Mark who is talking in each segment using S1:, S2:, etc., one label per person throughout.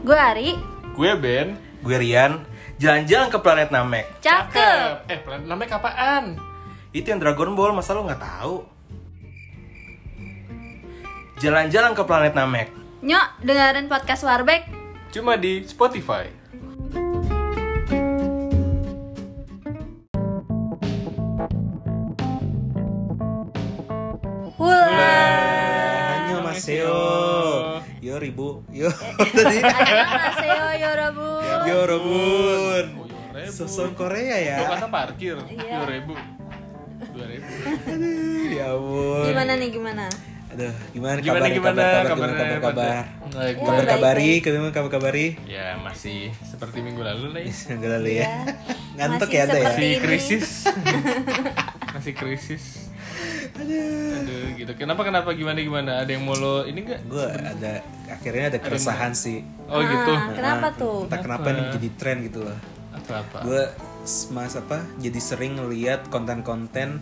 S1: Gue Ari,
S2: Gue Ben.
S3: Gue Rian, jalan-jalan ke planet Namek.
S1: cakep.
S2: Eh, planet namanya kapan?
S3: Itu yang Dragon Ball, masa lo nggak tahu? Jalan-jalan ke planet Namek.
S1: Nyok, dengerin podcast Warbeck.
S2: Cuma di Spotify.
S1: Wula.
S3: Annyeonghaseyo. Yo ribu, yo.
S1: Annyeonghaseyo, Yorobu.
S3: yo robun.
S2: Oh, Yorebu.
S3: Sosok Korea ya.
S2: Lo kata parkir.
S1: Iya.
S2: Dua ribu. Dua ribu.
S3: Ya ampun.
S1: Gimana nih gimana?
S3: Aduh, gimana
S2: Gimana
S3: kabar?
S2: gimana
S3: kabar, kabar,
S2: kabarnya?
S3: kabar, kabar.
S2: Pada- Baik,
S1: Ya,
S3: Kabar
S1: baik,
S3: kabari, kabar kabar kabari.
S2: Ya masih seperti minggu lalu lah ya.
S3: Nggak lalu ya.
S1: Ya.
S3: Ngantuk
S1: Masih
S3: ya ada ya.
S1: seperti-
S2: Masih
S1: ini.
S2: krisis. masih krisis. Aduh gitu. Kenapa kenapa gimana gimana? Ada yang mau lo ini enggak?
S3: Gue ada akhirnya ada keresahan sih.
S2: Oh gitu.
S1: Ah, kenapa tuh?
S3: Entah kenapa ini jadi tren gitu loh.
S2: Atau apa?
S3: Gue mas apa? Jadi sering ngeliat konten-konten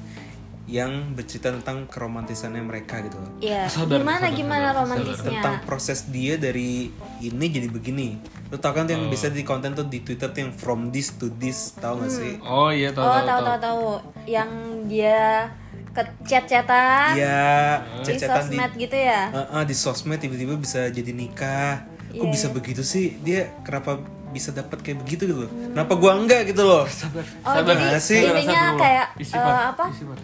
S3: yang bercerita tentang keromantisannya mereka gitu loh.
S1: Ya,
S2: Sabar,
S1: gimana
S2: sabar,
S1: gimana
S2: sabar,
S1: romantisnya?
S3: Tentang proses dia dari ini jadi begini. Lo tau kan tuh yang bisa di konten tuh di Twitter tuh yang from this to this tau gak sih?
S2: Oh iya tahu
S1: Oh,
S2: tahu.
S1: tahu tahu tahu. Yang dia ke chat-chatan
S3: Iya,
S1: Hmm. di
S3: cecetan di
S1: sosmed gitu ya?
S3: Heeh, di sosmed tiba-tiba bisa jadi nikah. Kok
S1: Iya,
S3: bisa begitu sih? Dia kenapa bisa dapat kayak begitu gitu loh? Kenapa gua enggak gitu loh?
S2: Sabar.
S1: Oh,
S2: sabar.
S1: jadi
S3: Nah, sih.
S2: Sabar,
S1: intinya
S2: sabar.
S1: kayak,
S2: Istighfar,
S1: eh, apa?
S2: istighfar.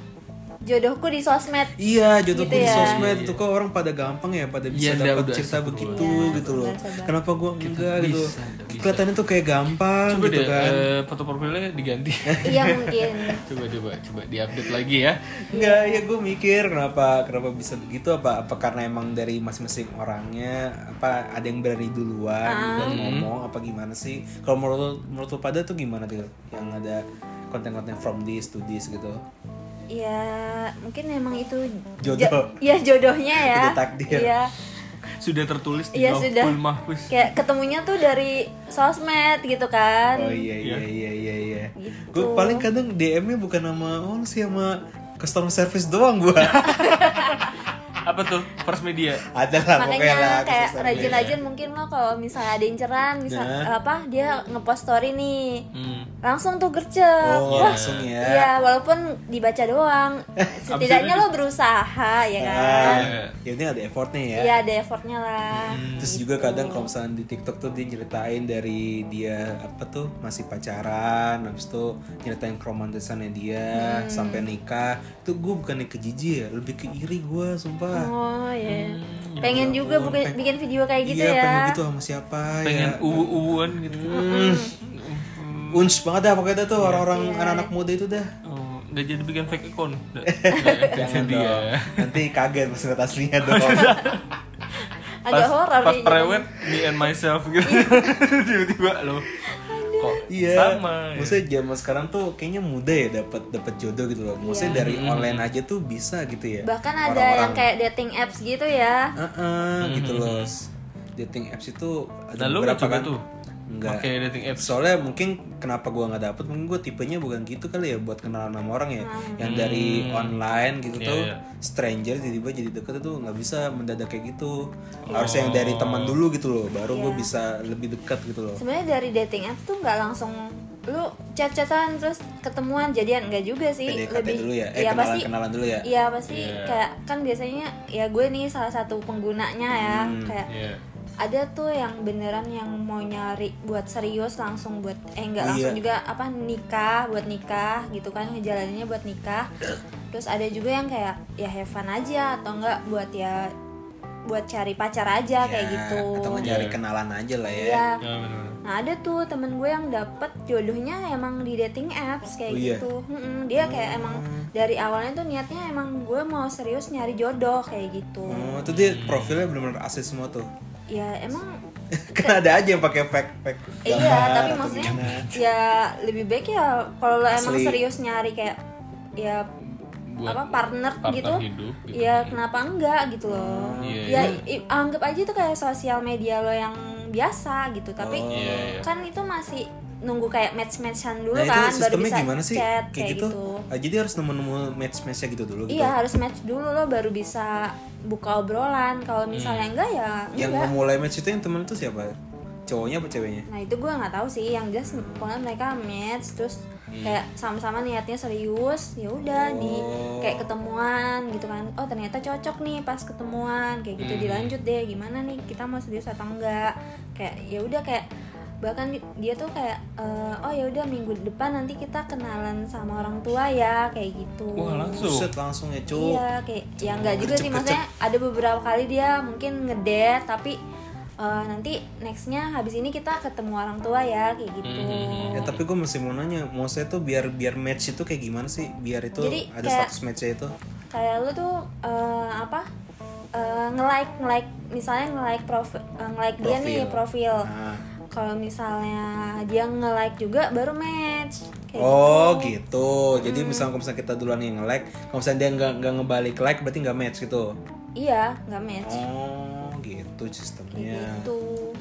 S1: Jodohku di sosmed.
S3: Iya, jodoh
S1: Gitu
S3: gua di
S1: ya.
S3: sosmed itu kok orang pada gampang ya pada
S2: Iya,
S3: bisa
S2: udah,
S3: dapat
S2: udah,
S3: cerita
S2: sabar.
S3: begitu
S1: Iya,
S3: gitu loh.
S1: sabar, sabar.
S3: Kenapa gua enggak gitu?
S2: bisa, bisa.
S3: Kelihatannya tuh kayak gampang
S2: Coba
S3: gitu
S2: deh
S3: kan.
S2: eh, foto profilnya diganti.
S1: Iya mungkin.
S2: coba coba coba diupdate lagi ya.
S3: Enggak, ya gue mikir kenapa kenapa bisa begitu apa apa karena emang dari masing-masing orangnya apa ada yang berani duluan
S1: Ah.
S3: gitu,
S2: Hmm.
S3: ngomong apa gimana sih? Kalau menurut lo- menurut lo pada tuh gimana tuh yang ada konten-konten from this to this gitu.
S1: Ya, mungkin emang itu
S3: Jodoh.
S1: Jo- ya jodohnya ya.
S3: Udah takdir.
S1: Iya.
S2: Sudah tertulis di
S1: Iya,
S2: Lauhul
S1: sudah.
S2: Mahfuz.
S1: Kayak ketemunya tuh dari sosmed gitu kan.
S3: Oh iya iya iya iya iya.
S1: Gitu.
S3: Gue paling kadang DM-nya bukan nama oh lu sih sama customer service doang gue.
S2: Apa tuh? First media.
S3: ada lah Nah, pokoknya lah.
S1: Makanya kayak kan.
S3: customer service.
S1: rajin-rajin mungkin lo kalau misalnya ada inceran, misal
S3: ya. Nah.
S1: apa dia ngepost story nih.
S2: Hmm.
S1: Langsung tuh gercep.
S3: Oh,
S1: Wah,
S3: langsung ya.
S1: Iya, walaupun dibaca doang, setidaknya lo berusaha ya kan.
S3: Ah, ya ini ada effortnya ya. Hmm.
S1: Iya, Gitu. ada effortnya lah.
S3: Terus juga kadang kalau misalnya di TikTok tuh dia nyeritain dari dia apa tuh masih pacaran, habis itu nyeritain keromantisannya dia
S1: Hmm.
S3: sampai nikah. Itu gue bukannya ke jijik ya, lebih ke iri gue sumpah. Ya
S1: Oh iya. Pengen juga buka- bikin video kayak gitu
S3: Hmm. iya,
S1: ya.
S3: pengen gitu sama siapa
S2: Pengen
S3: ya.
S2: uwu-uwuan gitu. Hmm.
S3: Uns banget dah pokoknya dah tuh
S1: Iya.
S3: orang-orang anak-anak muda itu dah.
S2: Oh, nggak jadi bikin fake account. Nggak, nggak, nggak
S3: Jangan
S1: Iya.
S2: jadi ya.
S3: dong. Nanti kaget pas lihat aslinya dong.
S2: Iya.
S1: Agak
S2: Pas-
S1: horor
S2: Pas
S1: ya.
S2: prewed, me and myself gitu.
S1: Iya.
S2: Tiba-tiba lo. Kok
S3: Iya.
S2: sama? ya?
S3: Maksudnya zaman sekarang tuh kayaknya muda ya dapat dapat jodoh gitu loh. Maksudnya dari
S2: Hmm.
S3: online aja tuh bisa gitu ya.
S1: Iya. Bahkan ada yang
S3: Orang-orang.
S1: kayak dating apps gitu ya.
S3: Heeh, gitu loh. Dating apps itu ada
S2: Hmm. Nah, lu nggak
S3: beberapa
S2: coba
S3: kan?
S2: tuh?
S3: Enggak.
S2: Pakai dating apps.
S3: Soalnya mungkin kenapa gua nggak dapet mungkin gue tipenya bukan gitu kali ya buat kenalan sama orang ya.
S1: Hmm.
S3: Yang dari online gitu
S2: Hmm. Iya,
S3: tuh
S2: iya.
S3: stranger tiba-tiba jadi deket itu nggak bisa mendadak kayak gitu.
S2: Oh.
S3: Harus yang dari teman dulu gitu loh, baru
S1: Iya.
S3: gue bisa lebih dekat gitu loh.
S1: Sebenarnya dari dating apps tuh nggak langsung lu chat-chatan terus ketemuan jadian enggak juga sih
S3: PDKT
S1: lebih
S3: dulu ya. Eh
S1: Iya,
S3: kenalan
S1: pasti
S3: kenalan dulu ya.
S1: Iya pasti kayak kan biasanya ya gue nih salah satu penggunanya ya
S3: Hmm.
S1: kayak
S2: Iya.
S1: ada tuh yang beneran yang mau nyari buat serius langsung buat eh nggak langsung
S3: Iya.
S1: juga apa nikah buat nikah gitu kan ngejalaninnya buat nikah terus ada juga yang kayak ya have fun aja atau enggak buat ya buat cari pacar aja kayak
S3: Ya,
S1: gitu
S3: Atau nggak
S2: Iya.
S3: nyari kenalan aja lah ya.
S1: Iya.
S2: Ya, bener-bener.
S1: Nah ada tuh temen gue yang dapet jodohnya emang di dating apps kayak
S3: Oh, iya? Oh.
S1: gitu Mm-mm, Dia kayak emang dari awalnya tuh niatnya emang gue mau serius nyari jodoh kayak gitu
S3: Oh, itu
S2: Hmm.
S3: dia profilnya benar-benar asli semua tuh.
S1: Ya emang
S3: kan ada aja yang pakai fake fake.
S1: eh, iya
S3: gambar
S1: tapi
S3: atau
S1: maksudnya
S3: gimana.
S1: ya lebih baik ya kalau lo emang
S3: Asli.
S1: serius nyari kayak ya
S2: Buat
S1: apa partner,
S2: partner
S1: gitu
S2: hidup gitu.
S1: ya kenapa enggak gitu
S3: Oh,
S1: loh
S2: Iya,
S1: ya i- anggap aja itu kayak sosial media lo yang biasa gitu tapi
S3: Oh.
S2: Iya, iya.
S1: kan itu masih nunggu kayak match matchan dulu
S3: Nah
S1: kan
S3: itu
S1: baru
S3: sistemnya
S1: bisa
S3: gimana sih?
S1: chat kayak,
S3: kayak gitu.
S1: gitu,
S3: Ah, jadi harus nemu-nemu match-matchnya gitu dulu gitu.
S1: iya harus match dulu lo baru bisa buka obrolan kalau misalnya enggak ya
S3: Hmm. Yang
S1: enggak
S3: memulai match itu yang temen itu siapa? cowoknya apa ceweknya
S1: Nah itu gue nggak tahu sih, yang jelas pokoknya mereka match terus kayak sama-sama niatnya serius, ya udah di kayak ketemuan gitu kan. Oh ternyata cocok nih pas ketemuan kayak gitu dilanjut deh gimana nih kita mau serius atau enggak kayak ya udah kayak bahkan di- dia tuh kayak eh, oh ya udah minggu depan nanti kita kenalan sama orang tua ya kayak gitu.
S2: Wah langsung.
S3: Buset langsung ya cowok
S1: Iya, kayak ya nggak juga sih maksudnya ada beberapa kali dia mungkin ngedate tapi eh, nanti nextnya habis ini kita ketemu orang tua ya kayak gitu.
S3: ya tapi gue masih mau nanya mau saya tuh biar biar match itu kayak gimana sih biar itu
S1: Jadi
S3: ada
S1: kayak-
S3: status matchnya itu
S1: Kayak lu tuh eh, apa? eh, nge-like nge-like misalnya nge-like profi- eh, nge-like dia nih profil.
S3: Nah.
S1: Kalau misalnya dia nge-like juga baru match. Kayak
S3: oh gitu jadi
S1: Hmm.
S3: misalnya kalau misalnya kita duluan yang nge-like kalau misalnya dia nggak nggak ngebalik like berarti nggak match gitu
S1: Iya, nggak match.
S3: oh gitu sistemnya
S1: Gitu.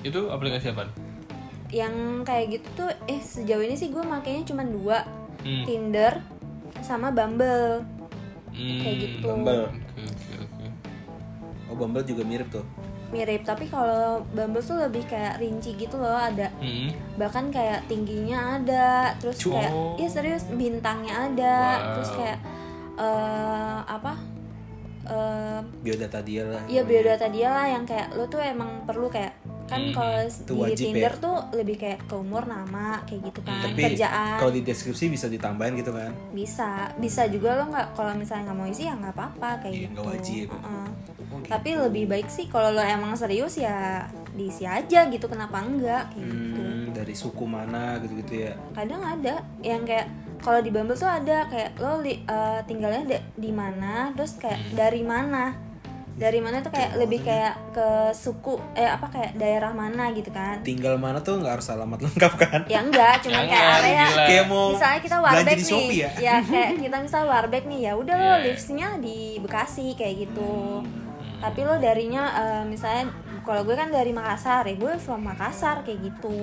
S2: Itu aplikasi apa?
S1: yang kayak gitu tuh eh sejauh ini sih gue makainya cuma dua
S2: Hmm.
S1: Tinder sama Bumble
S2: Hmm.
S1: kayak gitu
S3: Bumble
S2: Oke oke oke.
S3: oh Bumble juga mirip tuh
S1: mirip tapi kalau Bumble tuh lebih kayak rinci gitu loh ada
S2: Hmm.
S1: bahkan kayak tingginya ada terus
S2: Cuy.
S1: kayak ya serius bintangnya ada
S2: Wow.
S1: terus kayak eh apa eh
S3: biodata dia lah
S1: Iya biodata dia lah yang kayak lo tuh emang perlu kayak kan
S2: Hmm,
S1: kalau
S3: itu
S1: di
S3: wajib
S1: Tinder
S3: ya.
S1: tuh lebih kayak ke umur nama kayak gitu
S2: Hmm.
S1: kan
S3: tapi
S1: kerjaan
S3: kalau di deskripsi bisa ditambahin gitu kan
S1: bisa bisa juga lo nggak kalau misalnya nggak mau isi ya nggak apa-apa kayak
S3: Iya,
S1: gitu
S3: nggak wajib. Oh, gitu.
S1: Heeh. tapi lebih baik sih kalau lo emang serius ya diisi aja gitu kenapa enggak kayak gitu
S3: hmm, dari suku mana gitu gitu ya
S1: kadang ada yang kayak kalau di Bumble tuh ada kayak lo li- eh, tinggalnya de- di mana terus kayak
S3: Hmm.
S1: dari mana dari mana tuh kayak lebih kayak ke suku eh apa kayak daerah mana gitu kan
S3: tinggal mana tuh nggak harus alamat lengkap kan
S1: ya enggak cuman kayak
S2: Jangan,
S1: area
S2: gila.
S3: kayak mau
S1: misalnya kita
S3: belanja
S1: warbeck
S3: di
S1: nih
S3: Shopee ya
S1: kayak kita misal warbeck nih ya udah lo
S2: Iya, Hmm. iya.
S1: livesnya di Bekasi kayak gitu tapi lo darinya eh, misalnya kalau gue kan dari Makassar ya gue from Makassar kayak gitu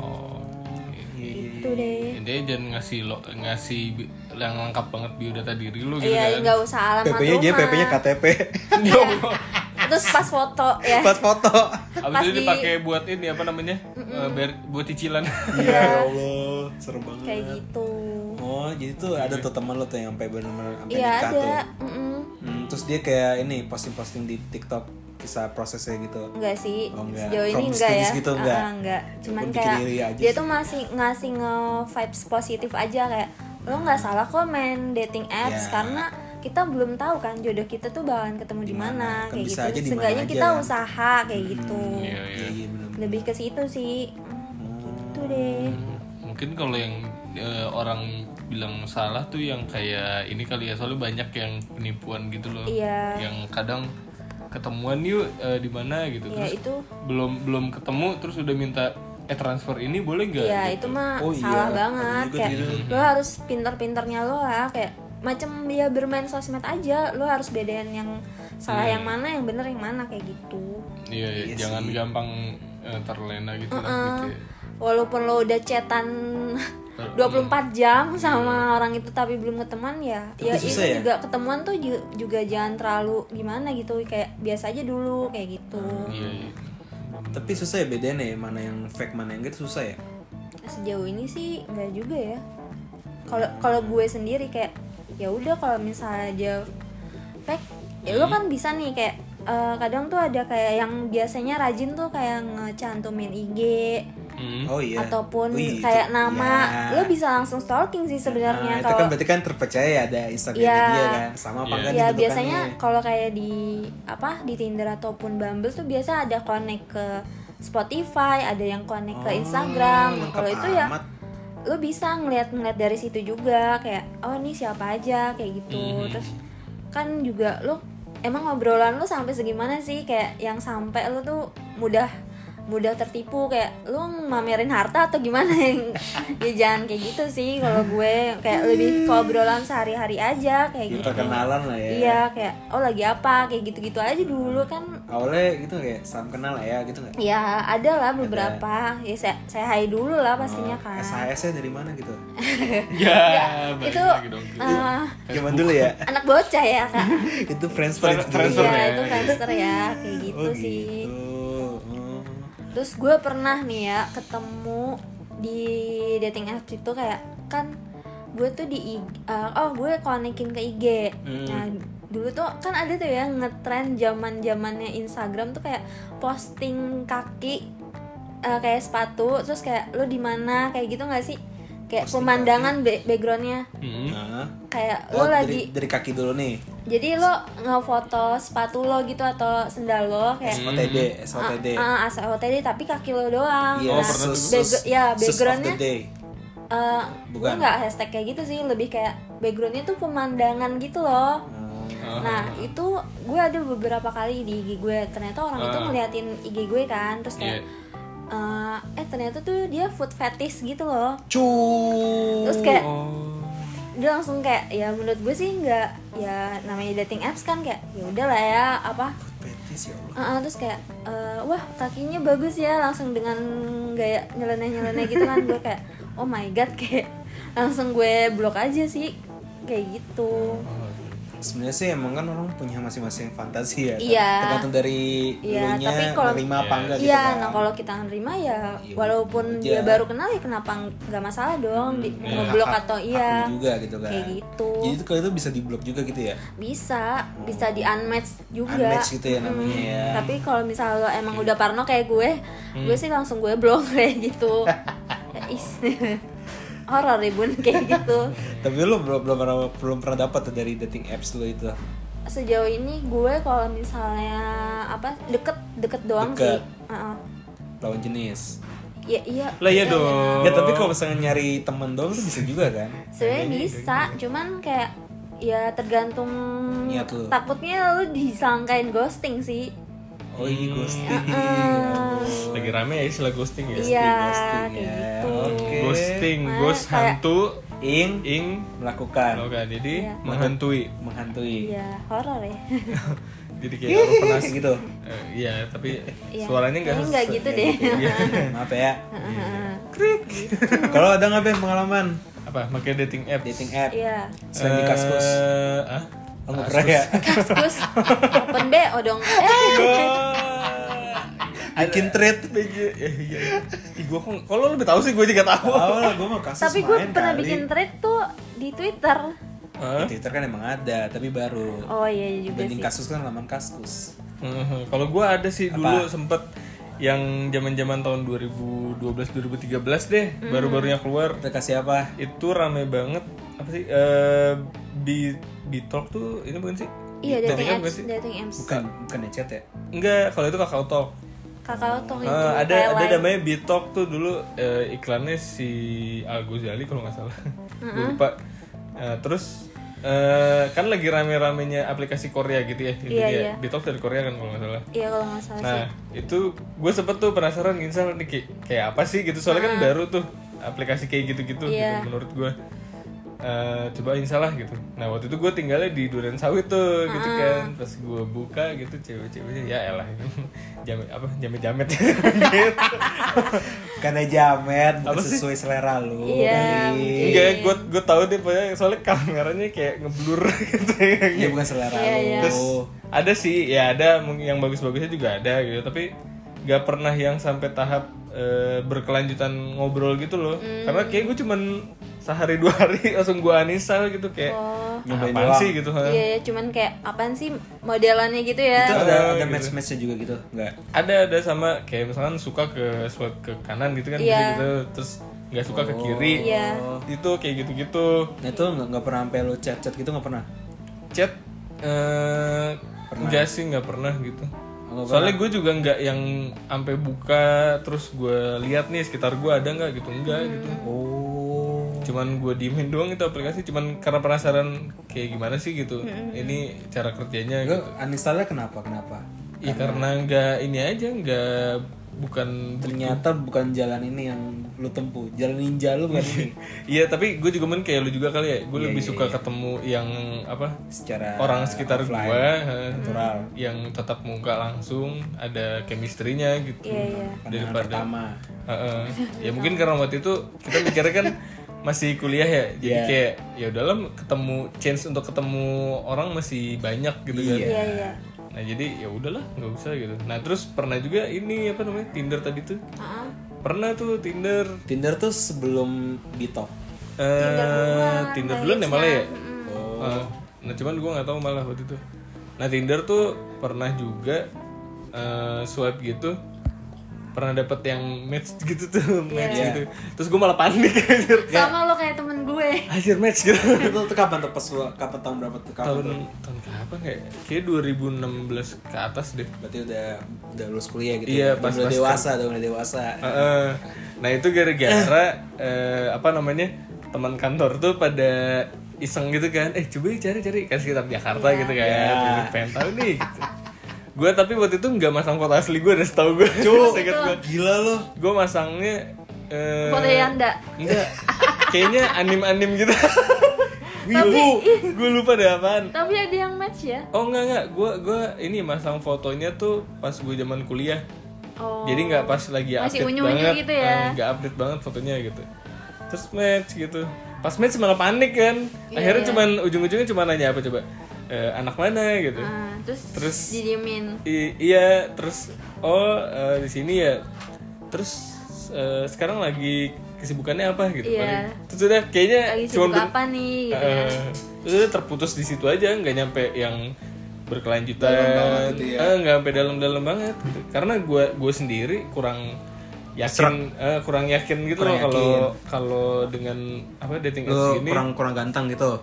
S2: Oh.
S3: iya,
S2: oke.
S1: gitu deh
S2: Jadi jangan ngasih lo ngasih bi- yang lengkap banget biodata diri lu gitu
S1: Iya,
S2: kan.
S1: nggak usah alamat
S3: PP-nya dia
S1: rumah.
S3: PP-nya KTP
S1: Terus pas foto ya.
S3: pas foto
S2: Abis
S1: Pas
S2: itu
S1: di-
S2: dipakai buat ini apa namanya? Eh, bayar- buat cicilan.
S3: iya ya Allah serem banget
S1: Kayak gitu.
S3: oh jadi tuh ada tuh teman lo tuh yang sampai benar-benar sampai
S1: Iya
S3: nikah
S1: ada.
S3: tuh
S1: Mm-mm.
S3: Hmm, terus dia kayak ini posting-posting di TikTok kisah prosesnya gitu
S1: Enggak sih.
S3: Oh, enggak.
S1: Sejauh ini
S3: From
S1: enggak ya.
S3: studies gitu, enggak?
S1: Ah, enggak. Cuman
S3: Bikin
S1: kayak
S3: diri aja
S1: dia
S3: sih.
S1: tuh masih ngasih nge vibes positif aja kayak lo nggak salah kok main dating apps
S3: Ya.
S1: karena kita belum tahu kan jodoh kita tuh bakalan ketemu di mana
S3: Kan
S1: kayak
S3: bisa aja
S1: gitu.
S3: di mana
S1: Seenggaknya
S3: aja,
S1: kita
S3: kan?
S1: usaha kayak gitu.
S2: Iya, iya.
S3: iya Hmm. bener
S1: Lebih ke situ sih. Gitu deh.
S2: Mungkin kalau yang eh, orang bilang salah tuh yang kayak ini kali ya soalnya banyak yang penipuan gitu loh.
S1: Iya.
S2: Yang kadang ketemuan yuk eh, di mana gitu.
S1: Ya
S2: Terus
S1: itu
S2: belum belum ketemu terus udah minta eh transfer ini boleh nggak?
S1: Iya
S2: gitu.
S1: itu mah
S3: Oh, iya.
S1: salah banget
S3: Ada juga
S1: kayak
S3: gitu.
S1: lo harus pinter-pinternya lo lah kayak macam dia bermain sosmed aja lo harus bedain yang salah
S3: Iya.
S1: yang mana yang bener yang mana kayak gitu
S2: Iya, iya, jangan gampang eh, terlena gitu lah gitu.
S3: Iya.
S2: ya.
S1: walaupun lo udah chatan 24 jam sama orang itu tapi belum ketemuan ya ya itu
S3: susah ya?
S1: juga ketemuan tuh ju- juga jangan terlalu gimana gitu kayak biasa aja dulu kayak gitu
S2: Iya, iya.
S3: tapi susah ya bedanya ya mana yang fake mana yang gitu susah ya
S1: Hmm. sejauh ini sih nggak juga ya kalau kalau gue sendiri kayak ya udah kalau misalnya dia fake ya
S3: Hmm.
S1: lo kan bisa nih kayak eh, kadang tuh ada kayak yang biasanya rajin tuh kayak ngecantumin IG
S2: Hmm.
S3: oh iya
S1: ataupun
S3: Wih, itu-
S1: kayak nama
S3: ya.
S1: lo bisa langsung stalking sih
S3: Nah,
S1: sebenarnya
S3: itu kan
S1: kalau
S3: berarti kan terpercaya ya ada Instagram
S1: Iya.
S3: dia kan sama
S2: Iya.
S3: apa enggak
S1: ya
S3: ditentukannya.
S1: biasanya kalau kayak di apa di Tinder ataupun Bumble tuh biasa ada connect ke Spotify ada yang connect ke Instagram Nah,
S3: Oh, lengkap
S1: kalau itu ya
S3: amat.
S1: lo bisa ngeliat-ngeliat dari situ juga kayak oh ini siapa aja kayak gitu terus kan juga lo emang ngobrolan lo sampai segimana sih kayak yang sampai lo tuh mudah mudah tertipu kayak lo mamerin harta atau gimana ya jangan kayak gitu sih kalau gue kayak lebih ke obrolan sehari-hari aja kayak gitu
S3: kita kenalan lah ya
S1: iya kayak oh lagi apa kayak gitu-gitu aja dulu kan
S3: awalnya gitu kayak salam kenal lah ya gitu nggak
S1: ya ada lah beberapa ya saya saya hai dulu lah
S3: Oh,
S1: pastinya kan
S3: SHS nya dari mana gitu
S2: Ya, balik
S1: itu
S2: lagi dong.
S1: eh,
S3: zaman dulu ya
S1: anak bocah ya kak
S3: itu Friendster Oh, itu dulu.
S2: Friendster
S1: iya
S2: ya.
S1: itu Friendster ya kayak gitu
S3: oh
S1: sih
S3: gitu Oh.
S1: terus gue pernah nih ya ketemu di dating apps itu kayak kan gue tuh di IG, eh, oh gue konekin ke IG
S3: Hmm.
S1: nah dulu tuh kan ada tuh ya ngetren zaman zamannya Instagram tuh kayak posting kaki eh, kayak sepatu terus kayak lo di mana kayak gitu nggak sih kayak pemandangan ba- backgroundnya
S2: Mm-mm.
S3: Nah,
S1: kayak lo
S3: oh,
S1: lagi Hmm.
S3: dari, dari kaki dulu nih.
S1: jadi lo ngefoto sepatu lo gitu atau sendal lo kayak
S3: SOTD, SOTD.
S1: ah asal OTD tapi kaki lo doang
S3: Iya,
S1: Nah,
S3: sus-
S1: backgr-
S3: sus-
S1: ya
S3: sus of the
S1: backgroundnya
S3: day.
S1: eh gue
S3: Bukan.
S1: nggak hashtag kayak gitu sih lebih kayak backgroundnya tuh pemandangan gitu loh
S3: Ah.
S1: nah itu gue ada beberapa kali di IG gue ternyata orang itu
S2: Ah.
S1: ngeliatin IG gue kan terus
S3: Iya.
S1: kayak eh, eh ternyata tuh dia food fetish gitu loh
S3: Cuuu.
S1: terus kayak
S2: Oh.
S1: dia langsung kayak ya menurut gue sih nggak ya namanya dating apps kan kayak ya udahlah ya apa
S3: Betis ya Allah.
S1: Ah, ah, terus kayak eh, wah kakinya bagus ya langsung dengan gaya nyeleneh nyeleneh gitu kan gue kayak oh my god kayak langsung gue blok aja sih kayak gitu
S3: Sebenarnya sih emang kan orang punya masing-masing fantasi ya. kan?
S1: Iya.
S3: Tergantung dari
S1: Iya,
S3: dulunya
S1: tapi kalau-
S3: nerima apa enggak gitu
S1: iya
S3: kan.
S1: nah kalau kita nerima ya
S3: Iya,
S1: walaupun
S3: iya.
S1: dia baru kenal ya kenapa nggak masalah dong di,
S3: Ya,
S1: ngeblok
S3: hak-
S1: atau
S3: hak
S1: iya
S3: lu juga gitu kan.
S1: kayak gitu
S3: Jadi itu kalau itu bisa diblok juga gitu ya.
S1: bisa bisa di unmatch juga
S3: Unmatch gitu ya namanya
S1: Hmm,
S3: ya. Iya. Hmm.
S1: tapi kalau misal lo emang udah parno kayak gue gue sih langsung gue blok kayak gitu Ya, is horor ribun kayak gitu
S3: Tapi lu belum belum pernah belum pernah dapat tuh dari dating apps lu itu.
S1: sejauh ini gue kalau misalnya apa deket deket doang sih
S3: Deket.
S1: Heeh.
S3: lawan jenis.
S1: ya iya
S2: Lah iya dong.
S3: Ya tapi kalau misalnya nyari temen doang tuh bisa juga kan.
S1: sebenarnya bisa cuman kayak ya tergantung
S3: Niat lu.
S1: takutnya lu disangkain ghosting sih
S3: Oh ini
S1: Hmm.
S3: ghosting.
S2: Lagi rame ya istilah ghosting ya.
S1: iya
S3: ghosting
S1: kayak
S3: ya.
S1: gitu
S3: Oke.
S2: Ghosting,
S1: Makanya
S2: ghost
S1: kayak-
S2: hantu,
S3: Ing
S2: ing
S3: melakukan
S2: Oke, jadi
S1: Iya.
S2: menghantui.
S3: menghantui.
S1: iya horor ya
S2: Jadi kayak orang pernah
S3: Kayak gitu.
S2: Eh, iya, tapi
S1: Iya.
S2: suaranya enggak
S1: Kayaknya nggak gitu deh
S3: Maaf ya. Kalau ada nggak Ben pengalaman
S2: apa? Pakai dating app.
S3: dating app
S1: iya
S3: selain di kaskus?
S2: Eh, ah?
S3: Lo nggak pernah ya?
S1: terus open BO dong eh
S3: Bikin treat.
S2: Iya, iya. Ih, gua kok kalau lebih tahu sih gue juga tahu.
S3: Tahu lah, gue mau kaskus
S1: tapi gue
S3: main
S1: pernah
S3: kali.
S1: bikin thread tuh di Twitter
S3: Di
S2: Hah?
S3: Twitter kan emang ada, tapi baru.
S1: oh iya iya juga
S3: Banding
S1: sih
S3: kaskus kan laman kaskus.
S2: Mhm. Kalau gua ada sih dulu
S3: Apa?
S2: sempet yang zaman-zaman tahun 2012-2013 deh,
S1: Hmm.
S2: baru-barunya keluar.
S3: Kita kasih apa?
S2: Itu rame banget. Apa sih? Eh bi Bitalk tuh ini bukan sih?
S1: iya dating
S2: app
S1: apps
S2: bukan sih?
S1: dating apps
S3: Bukan bukan ya, chat ya?
S2: Enggak, kalau itu Kakao Talk.
S1: kakak tong Oh, itu
S2: Eh, ada ada
S1: highlight.
S2: namanya Bitalk tuh dulu eh, iklannya si Al Ghazali kalau nggak salah. Gua lupa. Eh, terus eh, kan lagi rame-ramenya aplikasi Korea gitu ya intinya.
S1: Iya, iya.
S2: Bitalk dari Korea kan kalau nggak salah.
S1: iya kalau nggak salah sih
S2: Nah, itu gue sempet tuh penasaran Insal nih kayak, kayak apa sih gitu. Soalnya kan baru tuh aplikasi kayak gitu-gitu
S1: Iya.
S2: gitu menurut gue. Eh, coba Insal lah gitu. Nah, waktu itu gue tinggalnya di Duren Sawit tuh gitu kan. Pas gue buka gitu cewek-ceweknya ya elah. Jamet apa? Jamet-jamet.
S3: Karena ya, jamet bukan
S2: Apa sih?
S3: sesuai selera lu.
S1: Iya,
S3: kali.
S1: mungkin.
S2: Enggak, gue gue tahu deh pokoknya soalnya kameranya kayak ngeblur gitu.
S3: Iya bukan selera
S1: Iya,
S3: lu.
S1: iya.
S2: Terus ada sih, ya ada mungkin yang bagus-bagusnya juga ada gitu, tapi gak pernah yang sampai tahap eh, berkelanjutan ngobrol gitu loh.
S1: Hmm.
S2: Karena kayak gue cuman sehari dua hari langsung gue anisal gitu kayak
S1: Oh.
S3: Nyobain
S2: apaan
S3: doang.
S2: sih gitu. ha.
S1: iya iya cuman kayak apaan sih modelannya gitu
S3: Itu
S1: ya
S3: ada
S2: Ah,
S3: ada
S2: gitu.
S3: match-matchnya juga gitu. Enggak.
S2: Ada ada sama kayak misalkan suka ke swipe ke kanan gitu kan
S1: Iya.
S2: gitu, terus nggak suka ke kiri.
S1: Iya.
S2: Itu kayak gitu-gitu.
S3: Nah itu nggak nggak pernah sampai lu chat-chat gitu nggak pernah.
S2: chat eh enggak sih nggak pernah gitu
S3: Nggak
S2: soalnya gue juga nggak yang sampai buka terus gue lihat nih sekitar gue ada nggak gitu enggak gitu
S3: Oh.
S2: cuman gue diemin doang itu aplikasi cuman karena penasaran kayak gimana sih gitu ini cara kerjanya gitu
S3: Lu uninstallnya kenapa? Kenapa?
S2: ya karena nggak ini aja nggak bukan
S3: Ternyata bukan jalan ini yang lu tempuh. Jalan ninja lu bukan ini.
S2: iya tapi gue juga men kayak lu juga kali ya gue lebih suka ketemu yang apa
S3: Secara
S2: orang sekitar gue
S3: offline,
S2: eh,
S3: natural.
S2: yang tatap muka langsung ada chemistry-nya gitu
S1: iya iya
S3: Pandangan pertama.
S2: Heeh. ya mungkin karena waktu itu kita mikirnya kan masih kuliah ya jadi
S3: Iya.
S2: kayak ya udahlah ketemu chance untuk ketemu orang masih banyak gitu kan
S1: iya iya
S2: Nah jadi ya udahlah nggak usah gitu. Nah terus pernah juga ini apa namanya Tinder tadi tuh
S1: Heeh.
S2: pernah tuh Tinder
S3: Tinder tuh sebelum bitok.
S1: duluan,
S2: Tinder
S1: nah,
S2: Eh,
S1: iya
S2: Tinder duluan ya malah ya.
S1: kan? Mm-mm.
S2: Eh, Nah cuman gue nggak tahu malah waktu itu. Nah Tinder tuh pernah juga eh, swipe gitu pernah dapet yang match gitu tuh match
S1: Iya.
S2: gitu terus gue malah panik anjir
S1: sama lo kayak temen gue
S2: anjir match gitu
S3: itu tuh kapan tuh pas lu- kapan tahun berapa tuh kapan tuh?
S2: tahun tahun kapan kayak kayak 2016 ke atas deh
S3: Berarti udah udah lulus kuliah gitu.
S2: Iya,
S3: Udah
S2: pas-
S3: mulai
S2: pas-
S3: dewasa, udah mulai dewasa.
S2: Heeh. nah itu gara-gara eh, apa namanya teman kantor tuh pada iseng gitu kan eh coba ya cari-cari kan sekitar
S1: Iya.
S2: Jakarta gitu kan Pengen- pengen tahu nih gitu. gue tapi waktu itu nggak masang foto asli gue udah setahu gue
S1: itu.
S2: gue
S3: Gila lo.
S2: gue masangnya eh,
S1: foto Yanda
S2: enggak kayaknya anim-anim gitu Wibu, gue lupa deh apaan
S1: tapi ada yang match ya
S2: Oh enggak enggak, gue gua ini masang fotonya tuh pas gue zaman kuliah.
S1: oh
S2: Jadi nggak pas lagi
S1: Masih
S2: update
S1: unyu-unyu
S2: banget,
S1: gitu ya.
S2: eh, nggak update banget fotonya gitu. Terus match gitu. Pas match malah panik kan.
S1: Iya,
S2: Akhirnya cuman ujung-ujungnya cuma nanya apa coba? Eh, anak mana gitu.
S1: Ah, terus,
S2: Terus-
S1: didiemin
S2: I- iya, terus oh eh, di sini ya. Terus eh, sekarang lagi kesibukannya apa gitu.
S1: Iya.
S2: paling. Terus udah kayaknya
S1: lagi
S2: cuman
S1: sibuk
S2: ben-
S1: apa nih gitu ya.
S2: Eh, terus dia terputus di situ aja nggak nyampe yang berkelanjutan Eh, nggak sampai dalam-dalam banget gitu. karena gue gue sendiri kurang yakin eh, kurang yakin gitu loh kalau kalau dengan apa dating apps
S3: Lo
S2: ini
S3: kurang kurang ganteng gitu.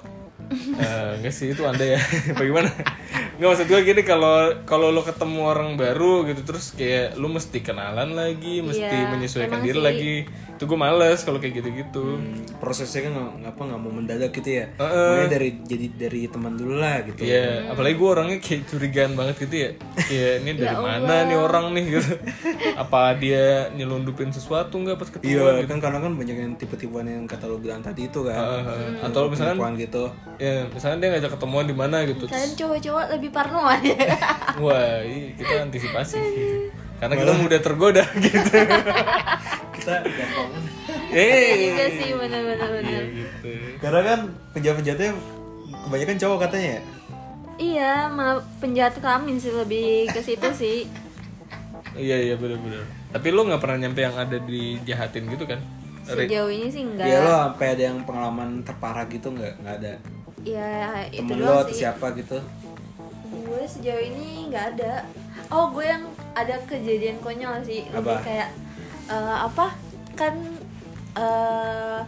S2: Eh, nggak sih itu anda ya bagaimana nggak maksud gue gini kalau kalau lo ketemu orang baru gitu terus kayak lo mesti kenalan lagi mesti
S1: Iya,
S2: menyesuaikan
S1: emang
S2: diri
S1: sih.
S2: lagi itu gue males kalau kayak gitu-gitu
S3: prosesnya kan nggak- nggak apa nggak mau mendadak gitu ya
S2: Heeh.
S3: mulai dari jadi dari teman dulu lah gitu
S2: Iya, apalagi gue orangnya kayak curigaan banget gitu ya. Iya, ini dari mana nih orang nih gitu. Apa dia nyelundupin sesuatu nggak pas ketemu?
S3: iya kan karena kan banyak yang tipe-tipean yang kata lo bilang tadi itu kan
S2: Heeh. Atau misalkan
S3: tipuan gitu
S2: ya, misalnya dia ngajak ketemuan di mana gitu.
S1: kalian cowok-cowok lebih parnoan
S2: Iya,
S1: ya
S2: Wah, iya, kita antisipasi gitu. Karena kita mudah tergoda gitu.
S3: kita gampang
S2: Eh,
S1: juga Iya sih benar-benar benar
S2: gitu.
S3: karena kan penjahat-penjahatnya kebanyakan cowok katanya ya
S1: iya malah penjahat kelamin sih lebih ke situ sih
S2: Iya, iya benar-benar. Tapi lo nggak pernah nyampe yang ada dijahatin gitu kan?
S1: sejauh ini sih enggak
S3: Iya lo sampai ada yang pengalaman terparah gitu nggak nggak ada
S2: Iya.
S1: ya itu
S3: temen
S1: doang
S3: lo atau
S1: sih
S3: siapa gitu
S1: gue sejauh ini nggak ada oh gue yang ada kejadian konyol sih lebih
S3: Apa?
S1: kayak eh, apa kan eh,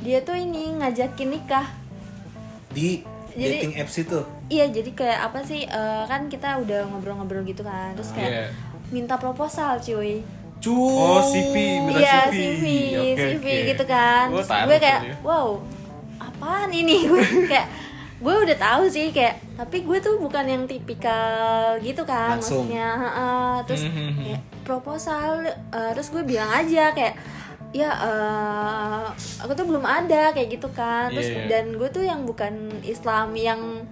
S1: dia tuh ini ngajakin nikah
S3: di
S1: Jadi-
S3: dating apps itu
S1: iya jadi kayak apa sih eh, kan kita udah ngobrol-ngobrol gitu kan terus kayak
S2: Iya.
S1: minta proposal cuy
S3: cuy
S2: Oh, CV, minta
S1: Iya,
S2: CV.
S1: CV,
S2: Oke,
S1: CV
S2: oke.
S1: gitu kan.
S2: Gua
S1: Terus
S2: taruh
S1: gue
S2: tuh
S1: kayak,
S2: dia.
S1: wow, apaan ini? Gue kayak, gue udah tahu sih kayak, tapi gue tuh bukan yang tipikal gitu kan,
S3: Langsung.
S1: maksudnya. heeh. terus
S2: Mhm.
S1: kayak proposal, eh, terus gue bilang aja kayak, ya eh, aku tuh belum ada kayak gitu kan. Terus
S2: Iya, iya.
S1: dan gue tuh yang bukan Islam yang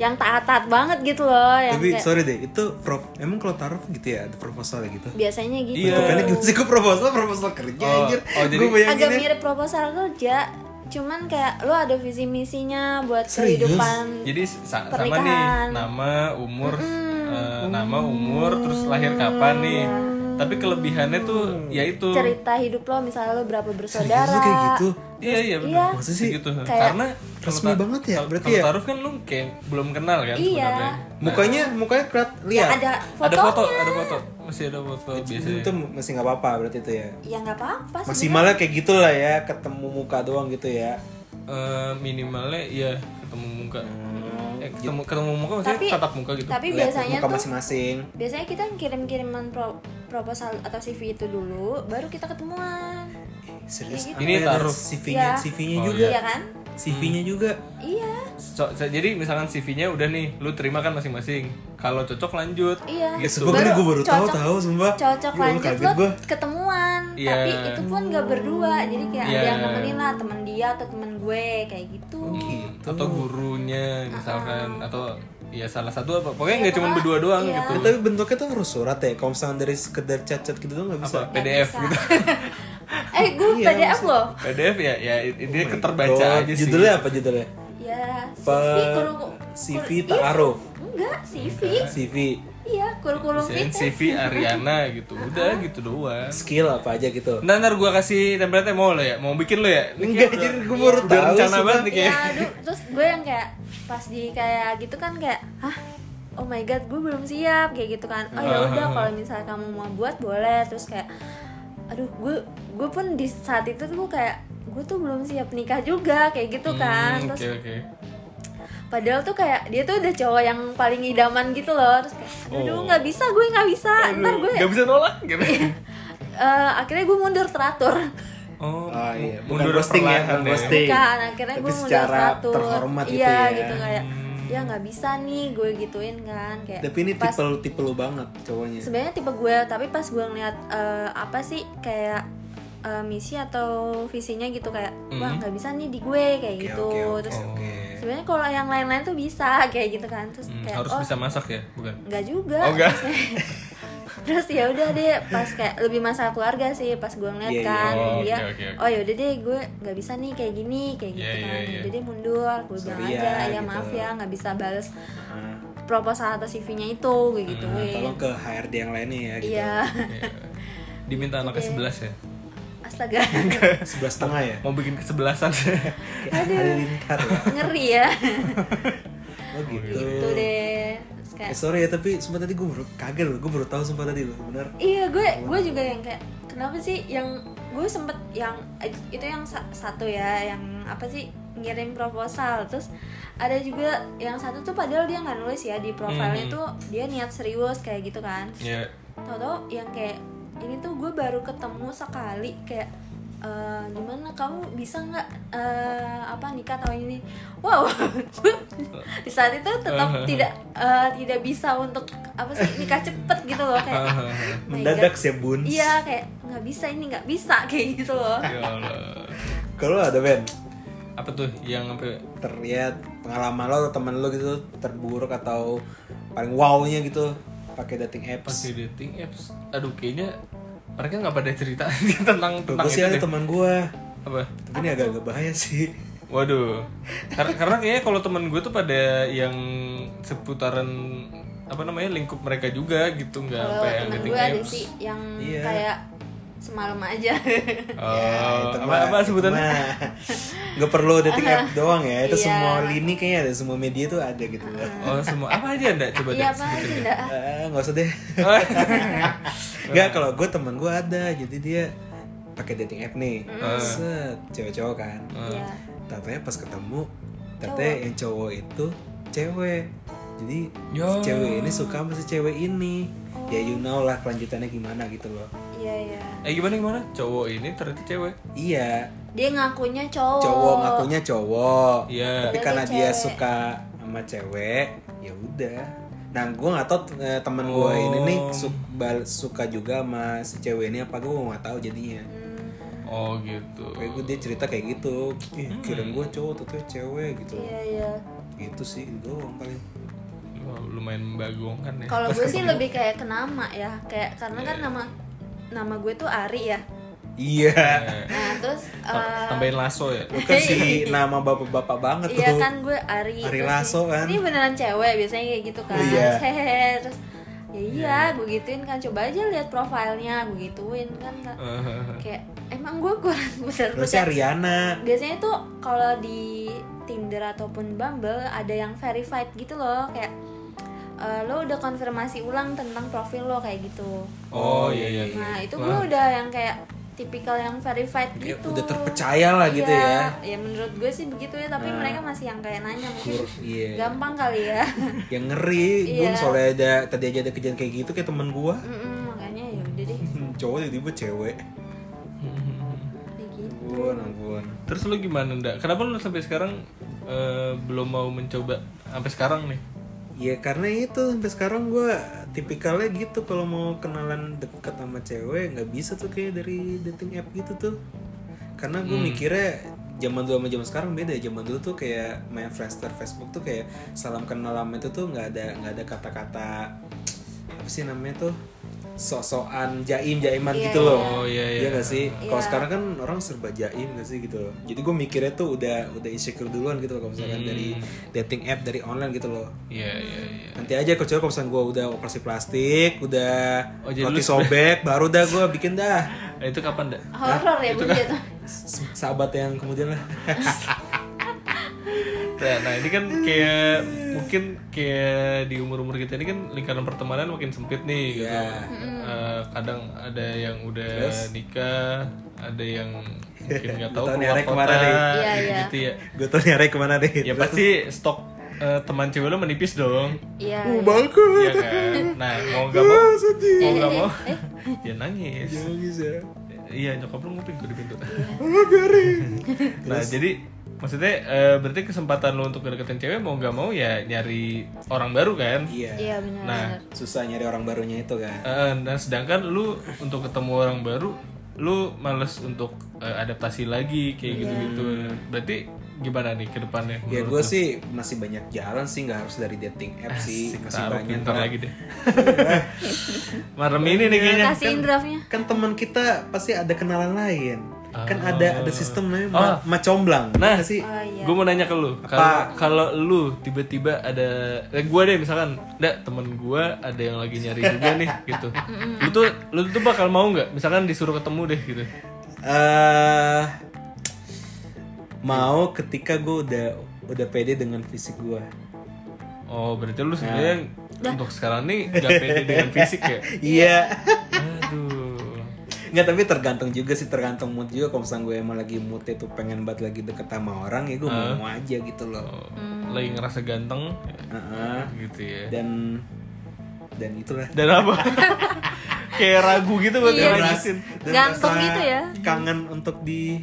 S1: yang taat-taat banget gitu loh, yang
S3: tapi
S1: kayak,
S3: sorry deh itu pro emang kalau taruh gitu ya ada proposal gitu
S1: biasanya gitu.
S2: Iya.
S3: Bukannya kan, gimana sih gue proposal proposal kerja
S2: Oh,
S3: anjir.
S2: oh, jadi-
S3: Gua ya, bayanginnya-
S1: agak mirip proposal kerja cuman kayak lo ada visi misinya buat
S3: Serius? Gitu.
S1: kehidupan
S2: Jadi sa- sama
S1: Pernikahan.
S2: nih nama, umur, eh, nama, umur, terus lahir kapan nih. Tapi kelebihannya tuh ya yaitu
S1: cerita hidup lo misalnya lo berapa bersaudara
S3: Serius lu kayak gitu.
S2: Iya iya
S1: Iya.
S2: benar.
S3: Maksud sih,
S2: gitu.
S1: kayak
S2: Karena
S3: resmi banget ya, berarti ya?
S2: Taruh kan lu kayak belum kenal kan
S1: Iya.
S2: sebenarnya.
S3: Mukanya mukanya kerat
S1: Ya,
S3: lihat.
S1: ada
S2: Ada
S1: foto
S2: foto, ada foto. Masih ada foto biasanya.
S3: Itu masih nggak apa-apa berarti itu ya.
S1: ya nggak apa-apa sih
S3: Maksimalnya kayak gitulah ya, ketemu muka doang gitu ya.
S2: Eh, minimalnya ya ketemu muka. Eh,
S3: Gitu.
S2: ketemu ketemu muka maksudnya
S1: Tapi-
S2: tatap muka gitu.
S1: tapi
S3: Lihat
S1: biasanya
S3: muka
S1: tuh
S3: masing-masing.
S1: biasanya kita kirim kiriman proposal atau cv itu dulu baru kita ketemuan
S3: Serius. ya,
S1: Kayak gitu.
S2: Ini
S3: Ada
S2: taruh.
S3: CV-nya,
S1: Iya.
S3: CV-nya
S2: Oh,
S3: juga.
S1: iya kan
S3: CV-nya juga.
S1: iya
S2: So- so- jadi misalkan CV-nya udah nih, lu terima kan masing-masing. Kalau cocok lanjut.
S1: iya
S3: Ya sumpah gue gue baru tahu
S1: cocok-
S3: tahu sumpah.
S1: cocok
S3: Gua
S1: lanjut
S3: kaget
S1: lo
S3: gua.
S1: ketemuan
S2: Iya.
S1: tapi itu pun gak berdua jadi kayak ada
S2: Iya.
S1: yang nemenin lah temen dia atau temen gue kayak gitu
S2: atau gurunya misalkan atau ya salah satu apa pokoknya nggak cuma berdua
S1: Ah.
S2: doang
S1: iya.
S2: gitu
S3: Eh, tapi bentuknya tuh harus surat ya. Kalau misalnya dari sekedar cacat gitu tuh nggak bisa.
S2: apa PDF gitu
S1: eh
S3: Iya,
S1: gue PDF loh
S2: PDF ya ya intinya
S3: Tuh,
S2: keterbaca aja sih
S3: Judulnya apa judulnya?
S1: ya
S3: Pe-
S1: CV kuru-
S3: CV
S1: kuru-
S3: Ta'aruf.
S1: Ih, iya. enggak CV
S3: CV
S1: iya kurikulum
S2: Desain
S1: vitae
S2: CV Ariana gitu udah gitu doang
S3: skill apa aja gitu
S2: Ntar ntar gue kasih template mau lo ya, mau bikin lo ya? Ini
S3: Enggak,
S2: kayak
S3: jadi
S2: udah-
S3: gue baru
S2: udah
S3: tahu
S2: rencana
S3: sumpah.
S2: banget nih
S1: Iya,
S2: kayaknya.
S1: aduh, terus gue yang kayak pas di kayak gitu kan kayak, hah, oh my god, gue belum siap kayak gitu kan. Oh ya udah, kalau misalnya kamu mau buat boleh. Terus kayak, aduh, gue gue pun di saat itu tuh gue kayak, gue tuh belum siap nikah juga kayak gitu kan.
S2: Hmm,
S1: Terus
S2: Oke oke.
S1: padahal tuh kayak dia tuh udah cowok yang paling idaman gitu loh. Terus kayak,
S2: Oh.
S1: aduh, nggak bisa, gue nggak bisa. Ntar Iya. gue,
S2: Gak bisa nolak gitu.
S1: eh, akhirnya gue mundur teratur.
S2: Oh,
S3: Oh iya, bukan
S2: mundur
S3: ghosting ya, bukan
S2: perlahan
S3: ghosting.
S1: bukan akhirnya
S3: Tapi
S1: gue mundur
S3: secara
S1: teratur
S3: terhormat gitu
S1: iya,
S3: ya.
S1: gitu kayak ya nggak bisa nih gue gituin kan kayak
S3: tapi ini
S1: pas
S3: tipe lu- tipe lu banget cowoknya
S1: sebenarnya tipe gue tapi pas gue ngeliat eh, apa sih kayak eh, misi atau visinya gitu kayak wah nggak bisa nih di gue kayak
S3: Hmm. Oke,
S1: gitu
S3: oke, oke,
S1: terus
S3: oke.
S1: sebenarnya kalau yang lain-lain tuh bisa kayak gitu kan terus
S2: Hmm,
S1: kayak
S2: harus
S1: oh
S2: bisa masak ya, bukan?
S1: nggak juga
S2: Oh, nggak.
S1: terus ya udah deh pas kayak lebih masalah keluarga sih pas gue ngeliat
S3: Iya, iya.
S1: kan
S2: Oh,
S1: dia
S2: oke, oke, oke.
S1: oh ya udah deh gue nggak bisa nih kayak gini kayak gitu
S2: Iya,
S1: kan
S2: iya, iya.
S1: udah deh mundur gue bilang
S3: Sorry ya,
S1: aja ya
S3: gitu.
S1: maaf ya nggak bisa bales
S3: Nah,
S1: proposal atau CV-nya itu gue
S2: Hmm,
S1: gituin
S3: tolong ke HRD yang lainnya ya gitu.
S1: iya
S2: Iya. Diminta anak ke sebelas ya.
S1: astaga
S3: Sebelas setengah ya.
S2: Mau bikin kesebelasan.
S3: Kayak ada lingkar ya.
S1: ngeri ya
S3: Oh gitu.
S2: iya.
S1: gitu deh Terus kayak,
S3: Eh, sorry ya tapi sumpah tadi gue baru kaget loh, gue baru tahu sumpah tadi loh, bener.
S1: iya gue gue juga yang kayak kenapa sih yang gue sempet yang itu yang sa- satu ya yang apa sih ngirim proposal terus ada juga yang satu tuh padahal dia nggak nulis ya di profilnya
S2: Hmm.
S1: tuh dia niat serius kayak gitu kan
S2: Iya.
S1: tau-tau yang kayak ini tuh gue baru ketemu sekali kayak "Eh, gimana kamu bisa nggak eh, apa nikah tahun ini wow di saat itu tetap tidak eh, tidak bisa untuk apa sih nikah cepet gitu loh kayak "My
S3: Mendadak
S1: God."
S3: sih bun.
S1: iya kayak nggak bisa ini nggak bisa kayak gitu loh
S2: Ya Allah.
S3: Kalau ada Ben,
S2: Apa tuh yang sampai
S3: terlihat pengalaman lo atau teman lo gitu terburuk atau paling wownya gitu pakai dating apps.
S2: pakai dating apps? Aduh kayaknya mereka nggak pada cerita tentang
S3: Tuh,
S2: tentang
S3: gue sih
S2: itu
S3: ada
S2: deh.
S3: teman gue,
S2: Apa?
S3: tapi ini agak-agak bahaya sih.
S2: Waduh, Kar- karena kayaknya kalau temen gue tuh pada yang seputaran apa namanya lingkup mereka juga gitu nggak
S1: kalau
S2: apa yang
S1: temen
S2: dating
S1: gue ada
S2: apps.
S1: sih yang
S3: Iya.
S1: kayak semalam aja
S2: Oh,
S3: Ya, itu
S2: apa,
S3: mah,
S2: apa
S3: itu
S2: sebutannya?
S3: mah. Nggak perlu dating app doang ya. Itu
S1: Iya.
S3: semua lini kayaknya ada semua media tuh ada gitu. Eh,
S2: Oh semua apa aja anda coba deh
S1: iya apa aja
S2: sebutin deh.
S1: ndak
S3: nggak usah deh. Nggak kalau gue teman gue ada, jadi dia pakai dating app nih.
S2: Ah.
S3: Set, cewek-cewek kan.
S1: Iya.
S3: Tatanya pas ketemu, tatanya yang cowok itu cewek. Jadi
S2: Ya.
S3: si cewek ini suka sama si cewek ini. Ya you know lah kelanjutannya gimana gitu loh.
S1: iya iya
S2: Eh gimana gimana? Cowok ini ternyata cewek.
S3: Iya,
S1: dia ngakunya cowok
S3: cowok ngakunya cowok.
S2: Iya.
S3: tapi
S1: Ternyata
S3: karena dia
S1: Oh. cewek.
S3: suka sama cewek ya udah nah gue nggak tahu eh, teman gue ini nih su- bal- suka juga sama si cewek ini apa gue nggak tahu jadinya
S2: Oh gitu.
S3: kayak gue dia cerita kayak gitu Ih, kirain gue cowok tuh cewek gitu
S1: iya iya
S3: gitu sih itu doang paling
S2: Wah, lumayan membagongkan ya.
S1: Kalau gue sih lebih kayak ke nama ya, kayak karena kan nama nama gue tuh Ari ya.
S3: iya
S2: Eh,
S1: Nah terus
S3: Oh,
S2: tam-
S1: eh,
S2: tambahin lasso ya.
S3: bukan kan si nama bapak-bapak banget tuh
S1: iya kan gue Ari.
S3: Ari
S1: Terus
S3: Lasso
S1: nih,
S3: kan.
S1: Ini beneran cewek biasanya kayak gitu kan.
S3: Iya.
S1: Terus, Hehehe terus ya iya gue gituin kan coba aja lihat profilnya gue gituin kan Kak. kayak emang gue kurang bener
S3: Eh. terus si
S1: percaya.
S3: Ariana
S1: Biasanya tuh kalau di Tinder ataupun Bumble ada yang verified gitu loh kayak eh, lo udah konfirmasi ulang tentang profil lo kayak gitu.
S2: Oh iya iya.
S1: Nah itu gue udah yang kayak tipikal yang verified
S3: Ya,
S1: gitu.
S3: udah terpercaya lah gitu ya Nah.
S1: Ya menurut gue sih begitu ya, tapi mereka masih yang kayak nanya mungkin
S3: Kur- iya
S1: gampang kali ya.
S3: yang ngeri
S1: Iya.
S3: Bun, soalnya ada tadi aja ada kejadian kayak gitu kayak teman gue
S1: Mm-mm, makanya ya udah deh
S3: cowok tiba-tiba cewek nah,
S1: kayak gitu.
S3: ampun ampun
S2: Terus lu gimana ndak? Kenapa lu sampai sekarang eh, belum mau mencoba sampai sekarang nih?
S3: Ya karena itu sampai sekarang gue tipikalnya gitu kalau mau kenalan deket sama cewek nggak bisa tuh kayak dari dating app gitu tuh. Karena
S2: Hmm.
S3: gue mikirnya zaman dulu sama zaman sekarang beda. Zaman dulu tuh kayak main Friendster Facebook tuh kayak salam kenal lama itu tuh nggak ada nggak ada kata-kata apa sih namanya tuh sok-sokan jaim-jaiman gitu
S2: Oh,
S3: loh.
S2: iya, iya.
S3: nggak sih? Kalau sekarang kan orang serba jaim gak sih gitu loh. Jadi gue mikirnya tuh udah udah insecure duluan gitu loh kalau misalkan
S2: Hmm.
S3: dari dating app dari online gitu loh.
S2: Iya, iya, iya.
S3: Nanti aja kecuali kalau misalkan gue udah operasi plastik, udah
S2: Oh, jadi lu
S3: roti sobek, baru dah gue bikin dah
S2: Eh, Itu kapan, Dak?
S1: horor ya bunda
S3: kan
S1: tuh
S3: S- sahabat yang kemudian lah.
S2: Nah, nah, ini kan kayak mungkin kayak di umur-umur kita ini kan lingkaran pertemanan makin sempit nih gitu.
S3: Iya.
S2: Eh, kadang ada yang udah nikah, ada yang mungkin nggak tahu
S3: Nggak
S2: keluar
S3: tahu nih, arahnya
S2: kota,
S3: kemana nih.
S1: Iya, iya.
S2: gitu ya.
S3: gue tuh nyari kemana deh.
S2: Ya pasti stok eh, teman cewek lo menipis dong.
S1: iya
S3: Uh, bangku.
S2: Iya kan? Nah, mau gak mau,
S3: sedih.
S2: mau gak mau,
S1: Eh,
S2: ya nangis.
S3: Nangis ya.
S2: Iya, nyokap lu nguping tuh di pintu.
S3: Oh, garing.
S2: Nah, jadi maksudnya eh, berarti kesempatan lu untuk deketin cewek mau gak mau ya nyari orang baru kan?
S3: Iya.
S1: iya benar
S2: Nah,
S3: Susah nyari orang barunya itu kan.
S2: Eh, nah sedangkan lu untuk ketemu orang baru, lu males untuk eh, adaptasi lagi kayak gitu-gitu. Berarti gimana nih ke depannya?
S3: Iya. Ya gue sih masih banyak jalan sih nggak harus dari dating app sih masih
S2: Taruh
S3: banyak
S2: pintar
S3: lah.
S2: lagi deh. Marem ini nih kayaknya.
S1: kasihin draftnya
S3: Kan teman kita pasti ada kenalan lain. Kan ada ada sistem namanya ma- macomblang.
S2: Ah. Oh. Nah.
S3: Apa sih
S1: oh iya
S2: Gue mau nanya ke lu, kalau kalau lu tiba-tiba ada, eh, gue deh misalkan, ndak temen gue ada yang lagi nyari juga nih, gitu. Lu tuh, lu tuh bakal mau nggak? Misalkan disuruh ketemu deh, gitu.
S3: eh mau ketika gue udah udah pede dengan fisik gue.
S2: Oh berarti lu sebenarnya untuk sekarang nih gak pede dengan fisik ya?
S3: Iya.
S2: Aduh.
S3: Nggak tapi tergantung juga sih tergantung mood juga kalau misalnya gue emang lagi moodnya tuh pengen banget lagi deket sama orang ya gue mau aja gitu loh.
S2: Oh,
S1: Hmm.
S2: Lagi ngerasa ganteng
S3: Heeh.
S2: gitu ya.
S3: Dan dan itulah
S2: Dan apa? Kayak ragu gitu buat
S1: Iya.
S2: ngelanjutin.
S3: Dan
S1: Gantung
S3: rasa
S1: gitu ya.
S3: kangen untuk di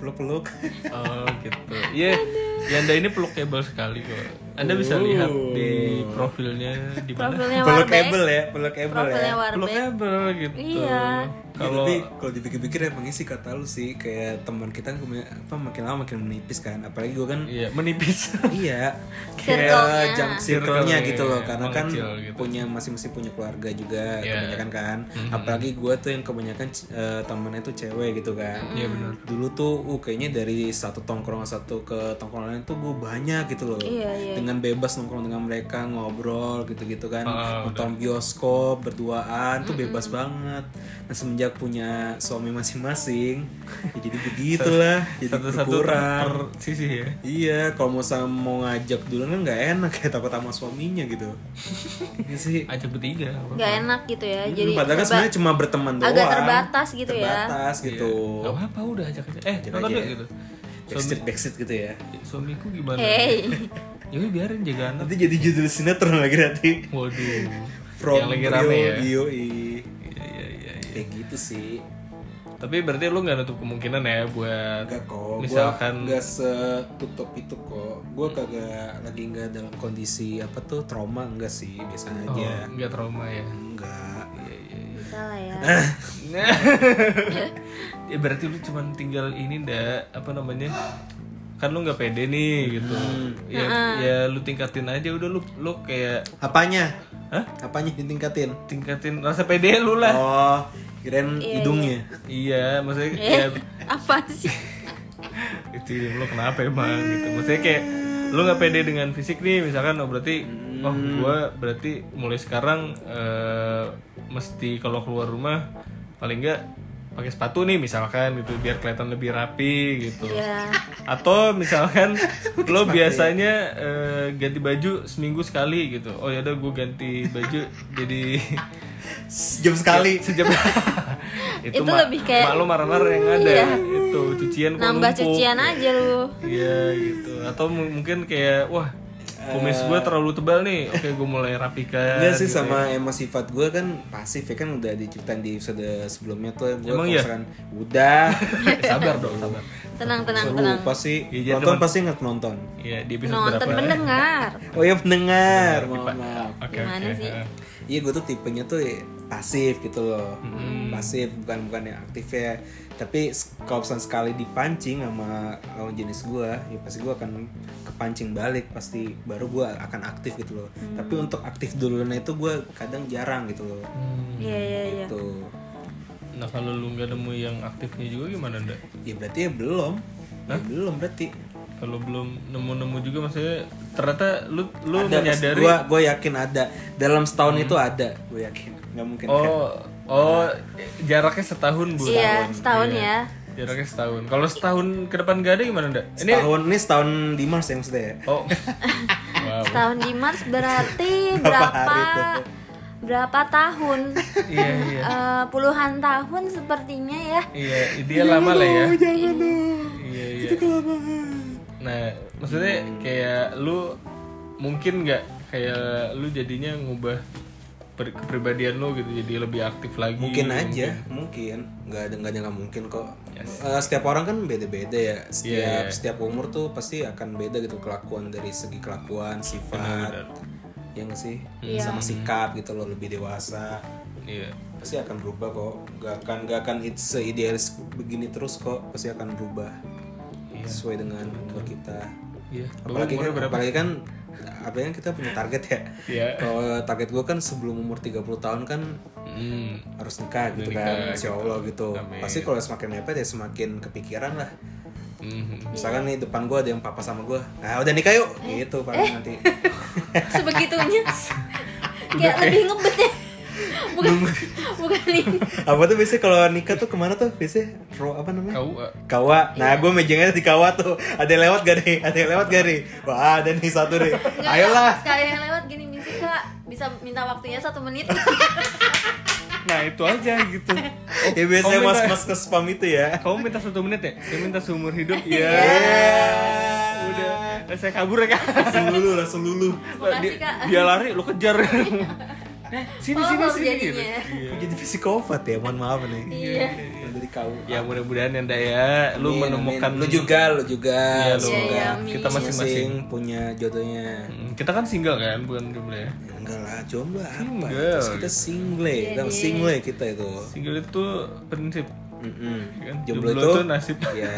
S3: peluk-peluk
S2: Oh gitu. Iya. Yanda ini pelukable sekali kok. Anda bisa lihat di profilnya di mana?
S1: profilnya warbeck
S3: pelukable ya pelukable ya
S1: profilnya warbeck
S2: Pelukable gitu.
S1: Iya.
S3: kalau
S2: Kalau
S3: tapi kalau dipikir-pikir emang sih kata lu sih kayak teman kita kemi- apa makin lama makin menipis kan apalagi gue kan
S2: iya menipis.
S3: iya
S1: Circle-nya.
S3: kayak jam circle-nya
S2: Circle-nya,
S3: gitu loh
S2: iya,
S3: karena kan
S2: mengecil gitu.
S3: punya masing-masing punya keluarga juga
S2: Iya.
S3: kebanyakan kan apalagi gue tuh yang kebanyakan eh, temannya tuh cewek gitu kan
S2: Iya benar.
S3: dulu tuh uh, kayaknya dari satu tongkrong satu ke tongkrong lain tuh gue banyak gitu loh
S1: Iya, iya.
S3: dengan bebas nongkrong dengan mereka ngobrol gitu-gitu kan
S2: Ah,
S3: nonton bioskop berduaan tuh
S1: Mhm.
S3: bebas banget nah semenjak punya suami masing-masing ya jadi begitulah jadi
S2: Satu-satu
S3: berkurang
S2: per sisi ya.
S3: Iya, kalau mau sama mau ngajak duluan kan nggak enak ya takut sama suaminya gitu. Iya sih.
S2: Ajak bertiga. apa?
S1: nggak enak gitu ya
S2: Hmm,
S1: jadi
S3: Padahal kan
S1: serba-
S3: sebenarnya cuma berteman doang.
S1: agak terbatas gitu ya.
S3: Terbatas gitu.
S2: Gak apa-apa udah ajak aja. Eh, nonton
S3: aja.
S2: yuk gitu.
S3: Backstreet backstreet gitu ya.
S2: Suamiku gimana?
S1: hey
S2: Ya udah, biarin jaga anak.
S3: Nanti jadi judul sinetron lagi nanti.
S2: Waduh.
S3: From
S2: yang lagi rame ya.
S3: Rio, Yoi.
S2: Iya, iya, iya, iya.
S3: Kayak gitu sih.
S2: Tapi berarti lu nggak nutup kemungkinan ya buat
S3: Enggak kok,
S2: Misalkan-
S3: gua enggak setutup itu kok. Gua kagak lagi enggak dalam kondisi apa tuh trauma enggak sih, biasa
S2: oh,
S3: aja.
S2: nggak trauma ya.
S3: Enggak.
S2: Iya, iya, iya.
S1: bisa lah ya
S2: ya berarti lu cuma tinggal ini ndak apa namanya? Kan lu nggak pede nih gitu. Ya, ya lu tingkatin aja udah lu lu kayak
S3: Apanya?
S2: Hah?
S3: Apanya ditingkatin?
S2: tingkatin rasa pede lu lah.
S3: Oh, kirain hidungnya.
S2: Iya, maksudnya ya
S1: apa sih
S2: itu lo kenapa emang gitu maksudnya kayak lo nggak pede dengan fisik nih misalkan oh berarti oh gue berarti mulai sekarang eh, mesti kalau keluar rumah paling nggak pakai sepatu nih misalkan gitu biar kelihatan lebih rapi gitu
S1: ya
S2: atau misalkan lo biasanya eh, ganti baju seminggu sekali gitu oh ya udah gue ganti baju jadi
S3: Jam sekali.
S2: sejam itu,
S1: Itu
S2: ma-
S1: lebih kayak-
S2: mak lo marah-marah yang ada
S1: Iya.
S2: itu cucian kok
S1: nambah
S2: numpuk.
S1: cucian aja lu
S2: Iya gitu. Atau mu- mungkin kayak wah kumis gue terlalu tebal nih. Oke gue mulai
S1: Iya.
S2: rapikan.
S3: Enggak Iya sih sama
S2: iya.
S3: emang sifat gue kan pasif ya kan udah diceritain di episode sebelumnya tuh gue
S2: Emang iya?
S3: udah
S2: sabar dong sabar.
S1: tenang tenang
S3: Seru
S1: tenang
S3: pasti
S2: Iya,
S3: nonton pasti ingat nonton.
S2: Iya, di episode
S1: nonton
S2: berapa?
S1: pendengar
S3: Oh ya pendengar, mohon
S2: Pak.
S3: maaf.
S2: Oke, Hmm.
S1: Gimana
S2: oke.
S1: sih?
S3: Iya gue tuh tipenya tuh ya pasif gitu loh,
S2: Mm-hmm.
S3: pasif bukan bukan yang aktif ya. Tapi s- kalau misalnya sekali dipancing sama lawan jenis gue, ya pasti gue akan kepancing balik pasti baru gue akan aktif gitu loh.
S2: Hmm.
S3: Tapi untuk aktif duluan itu gue kadang jarang gitu loh.
S2: Hmm.
S1: iya iya iya
S3: Tuh,
S2: Nah, kalau lu nggak nemu yang aktifnya juga gimana, Nda?
S3: ya berarti ya belum, Ya belum berarti.
S2: Kalau belum nemu-nemu juga maksudnya ternyata lu lu menyadari
S3: Gue gue yakin ada dalam setahun itu ada, gue yakin nggak mungkin.
S2: Hmm. oh oh jaraknya setahun, Bu.
S1: iya setahun ya
S2: Jaraknya setahun. Kalau setahun ke depan gak ada gimana, Nda? Ini
S3: Setahun ini setahun di Mars ya maksudnya ya.
S2: oh. wow.
S1: setahun di Mars berarti berapa berapa tahun
S2: Iya, iya.
S1: Eh, puluhan tahun sepertinya ya
S2: Iya, dia lama lah ya.
S3: Jangan dong.
S2: Iya, iya.
S3: Kelamaan.
S2: Nah, maksudnya kayak lu mungkin nggak kayak lu jadinya ngubah per- kepribadian lu gitu jadi lebih aktif lagi.
S3: mungkin aja mungkin nggak ada nggak ada nggak mungkin kok Eh, setiap orang kan beda-beda ya setiap setiap umur tuh pasti akan beda gitu kelakuan dari segi kelakuan sifat ya nggak sih sama sikap gitu loh lebih dewasa
S2: Iya.
S3: pasti akan berubah kok nggak akan nggak akan it- seidealis begini terus kok pasti akan berubah sesuai dengan umur kita
S2: Iya.
S3: apalagi kan, apalagi kan apalagi kan kita punya target ya
S2: Iya.
S3: kalau target gue kan sebelum umur 30 tahun kan
S2: Hmm.
S3: harus nikah gitu kan insya Allah gitu pasti kalau semakin mepet ya semakin kepikiran lah
S2: Mhm.
S3: misalkan nih depan gua ada yang papa sama gua nah udah nikah yuk
S1: Eh.
S3: gitu paling nanti
S1: sebegitunya kayak lebih ngebet ya bukan bukan ini
S3: apa tuh biasanya kalau nikah tuh kemana tuh biasanya ro apa namanya
S2: Kau ah.
S3: kawa
S1: Iya.
S3: nah gua mejanya di kawa tuh ada yang lewat gak nih ada yang lewat gak nih wah ada nih satu nih
S1: Nggak,
S3: ayolah
S1: sekali yang lewat gini misi kak bisa minta waktunya satu menit
S2: Nah, itu aja gitu.
S3: ya biasanya
S2: Oh,
S3: mas
S2: minta-
S3: mas ke spam itu ya
S2: Kamu minta satu menit ya? Saya minta seumur hidup. Iya. Udah. Nah, Saya kabur ya kan.
S3: langsung lulu langsung lulu
S1: makasih
S2: Dia,
S1: kak
S2: dia lari, lu kejar. Nah, sini
S1: Oh,
S2: sini
S1: baru
S2: sini gitu.
S1: jadinya.
S2: Iya.
S3: jadi psikopat ya mohon maaf nih
S1: iya
S3: dari kawa
S2: Ya mudah-mudahan ya Nda ya lu
S3: Amin,
S2: menemukan
S3: amin. lu juga lu juga
S2: Iya,
S1: Iya,
S2: lu.
S3: semoga
S1: iya, amin.
S2: kita masing-masing.
S3: punya jodohnya
S2: Mm, Kita kan single kan, bukan jomblo ya.
S3: enggak lah jomblo apa
S2: Single.
S3: terus kita
S1: Iya,
S3: single kita single kita itu
S2: Single itu prinsip
S3: Mm-mm.
S2: kan.
S3: jomblo, itu
S2: nasib
S3: ya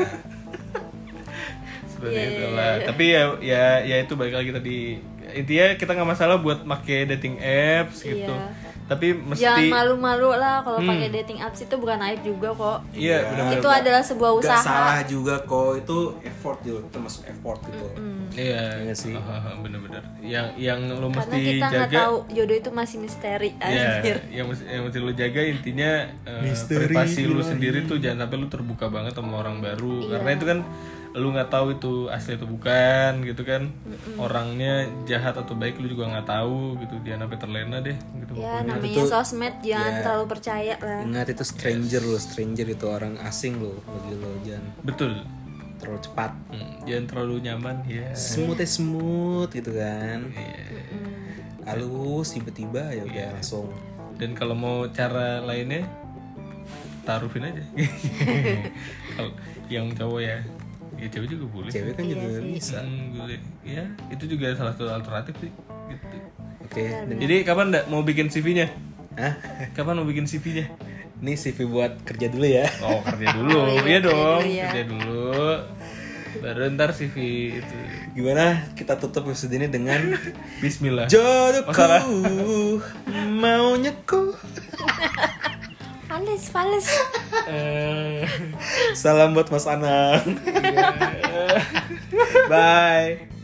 S2: seperti
S1: Iya,
S2: itulah. Tapi ya ya ya itu balik lagi tadi intinya kita nggak masalah buat make dating apps gitu. Tapi
S1: Iya. jangan
S2: mesti Iya.
S1: malu-malu lah kalau pakai dating apps itu bukan aib juga kok
S2: iya benar-benar.
S1: itu adalah sebuah
S3: nggak
S1: usaha
S3: salah juga kok itu effort gitu termasuk effort gitu
S2: Iya
S3: Iya sih.
S2: Ah, ah, benar-benar. Yang yang lu
S1: karena
S2: mesti
S1: kita nggak
S2: jaga
S1: tahu jodoh itu masih misteri
S2: Ya,
S1: anjir
S2: yang mesti, yang mesti lu jaga intinya eh, privasi lu sendiri tuh jangan sampai lu terbuka banget sama orang baru karena itu kan lu nggak tahu itu asli atau bukan gitu kan orangnya jahat atau baik lu juga nggak tahu gitu jangan sampai terlena deh gitu
S1: ya namanya sosmed jangan terlalu percaya lah
S3: ingat itu stranger lo stranger itu orang asing lo bagi lo jangan
S2: betul
S3: terlalu cepat
S2: Hmm, jangan terlalu nyaman ya
S3: smooth ya smooth gitu kan
S2: Iya.
S3: halus tiba-tiba ya udah langsung
S2: dan kalau mau cara lainnya taruhin aja kalau yang cowok ya ya cewek juga boleh
S3: cewek kan
S1: Iya,
S3: juga bisa
S2: Hmm, boleh. ya itu juga salah satu alternatif sih gitu.
S3: oke dan-
S2: Jadi kapan ndak mau bikin CV-nya?
S3: Hah?
S2: Kapan mau bikin CV-nya?
S3: Ini CV buat kerja dulu ya.
S2: Oh kerja dulu, iya dong, kerja dulu. Baru ntar CV itu.
S3: Gimana kita tutup episode ini dengan
S2: Bismillah.
S3: jodohku maunya ku.
S1: fales fales
S2: Eh,
S3: Salam buat Mas Anang. Bye.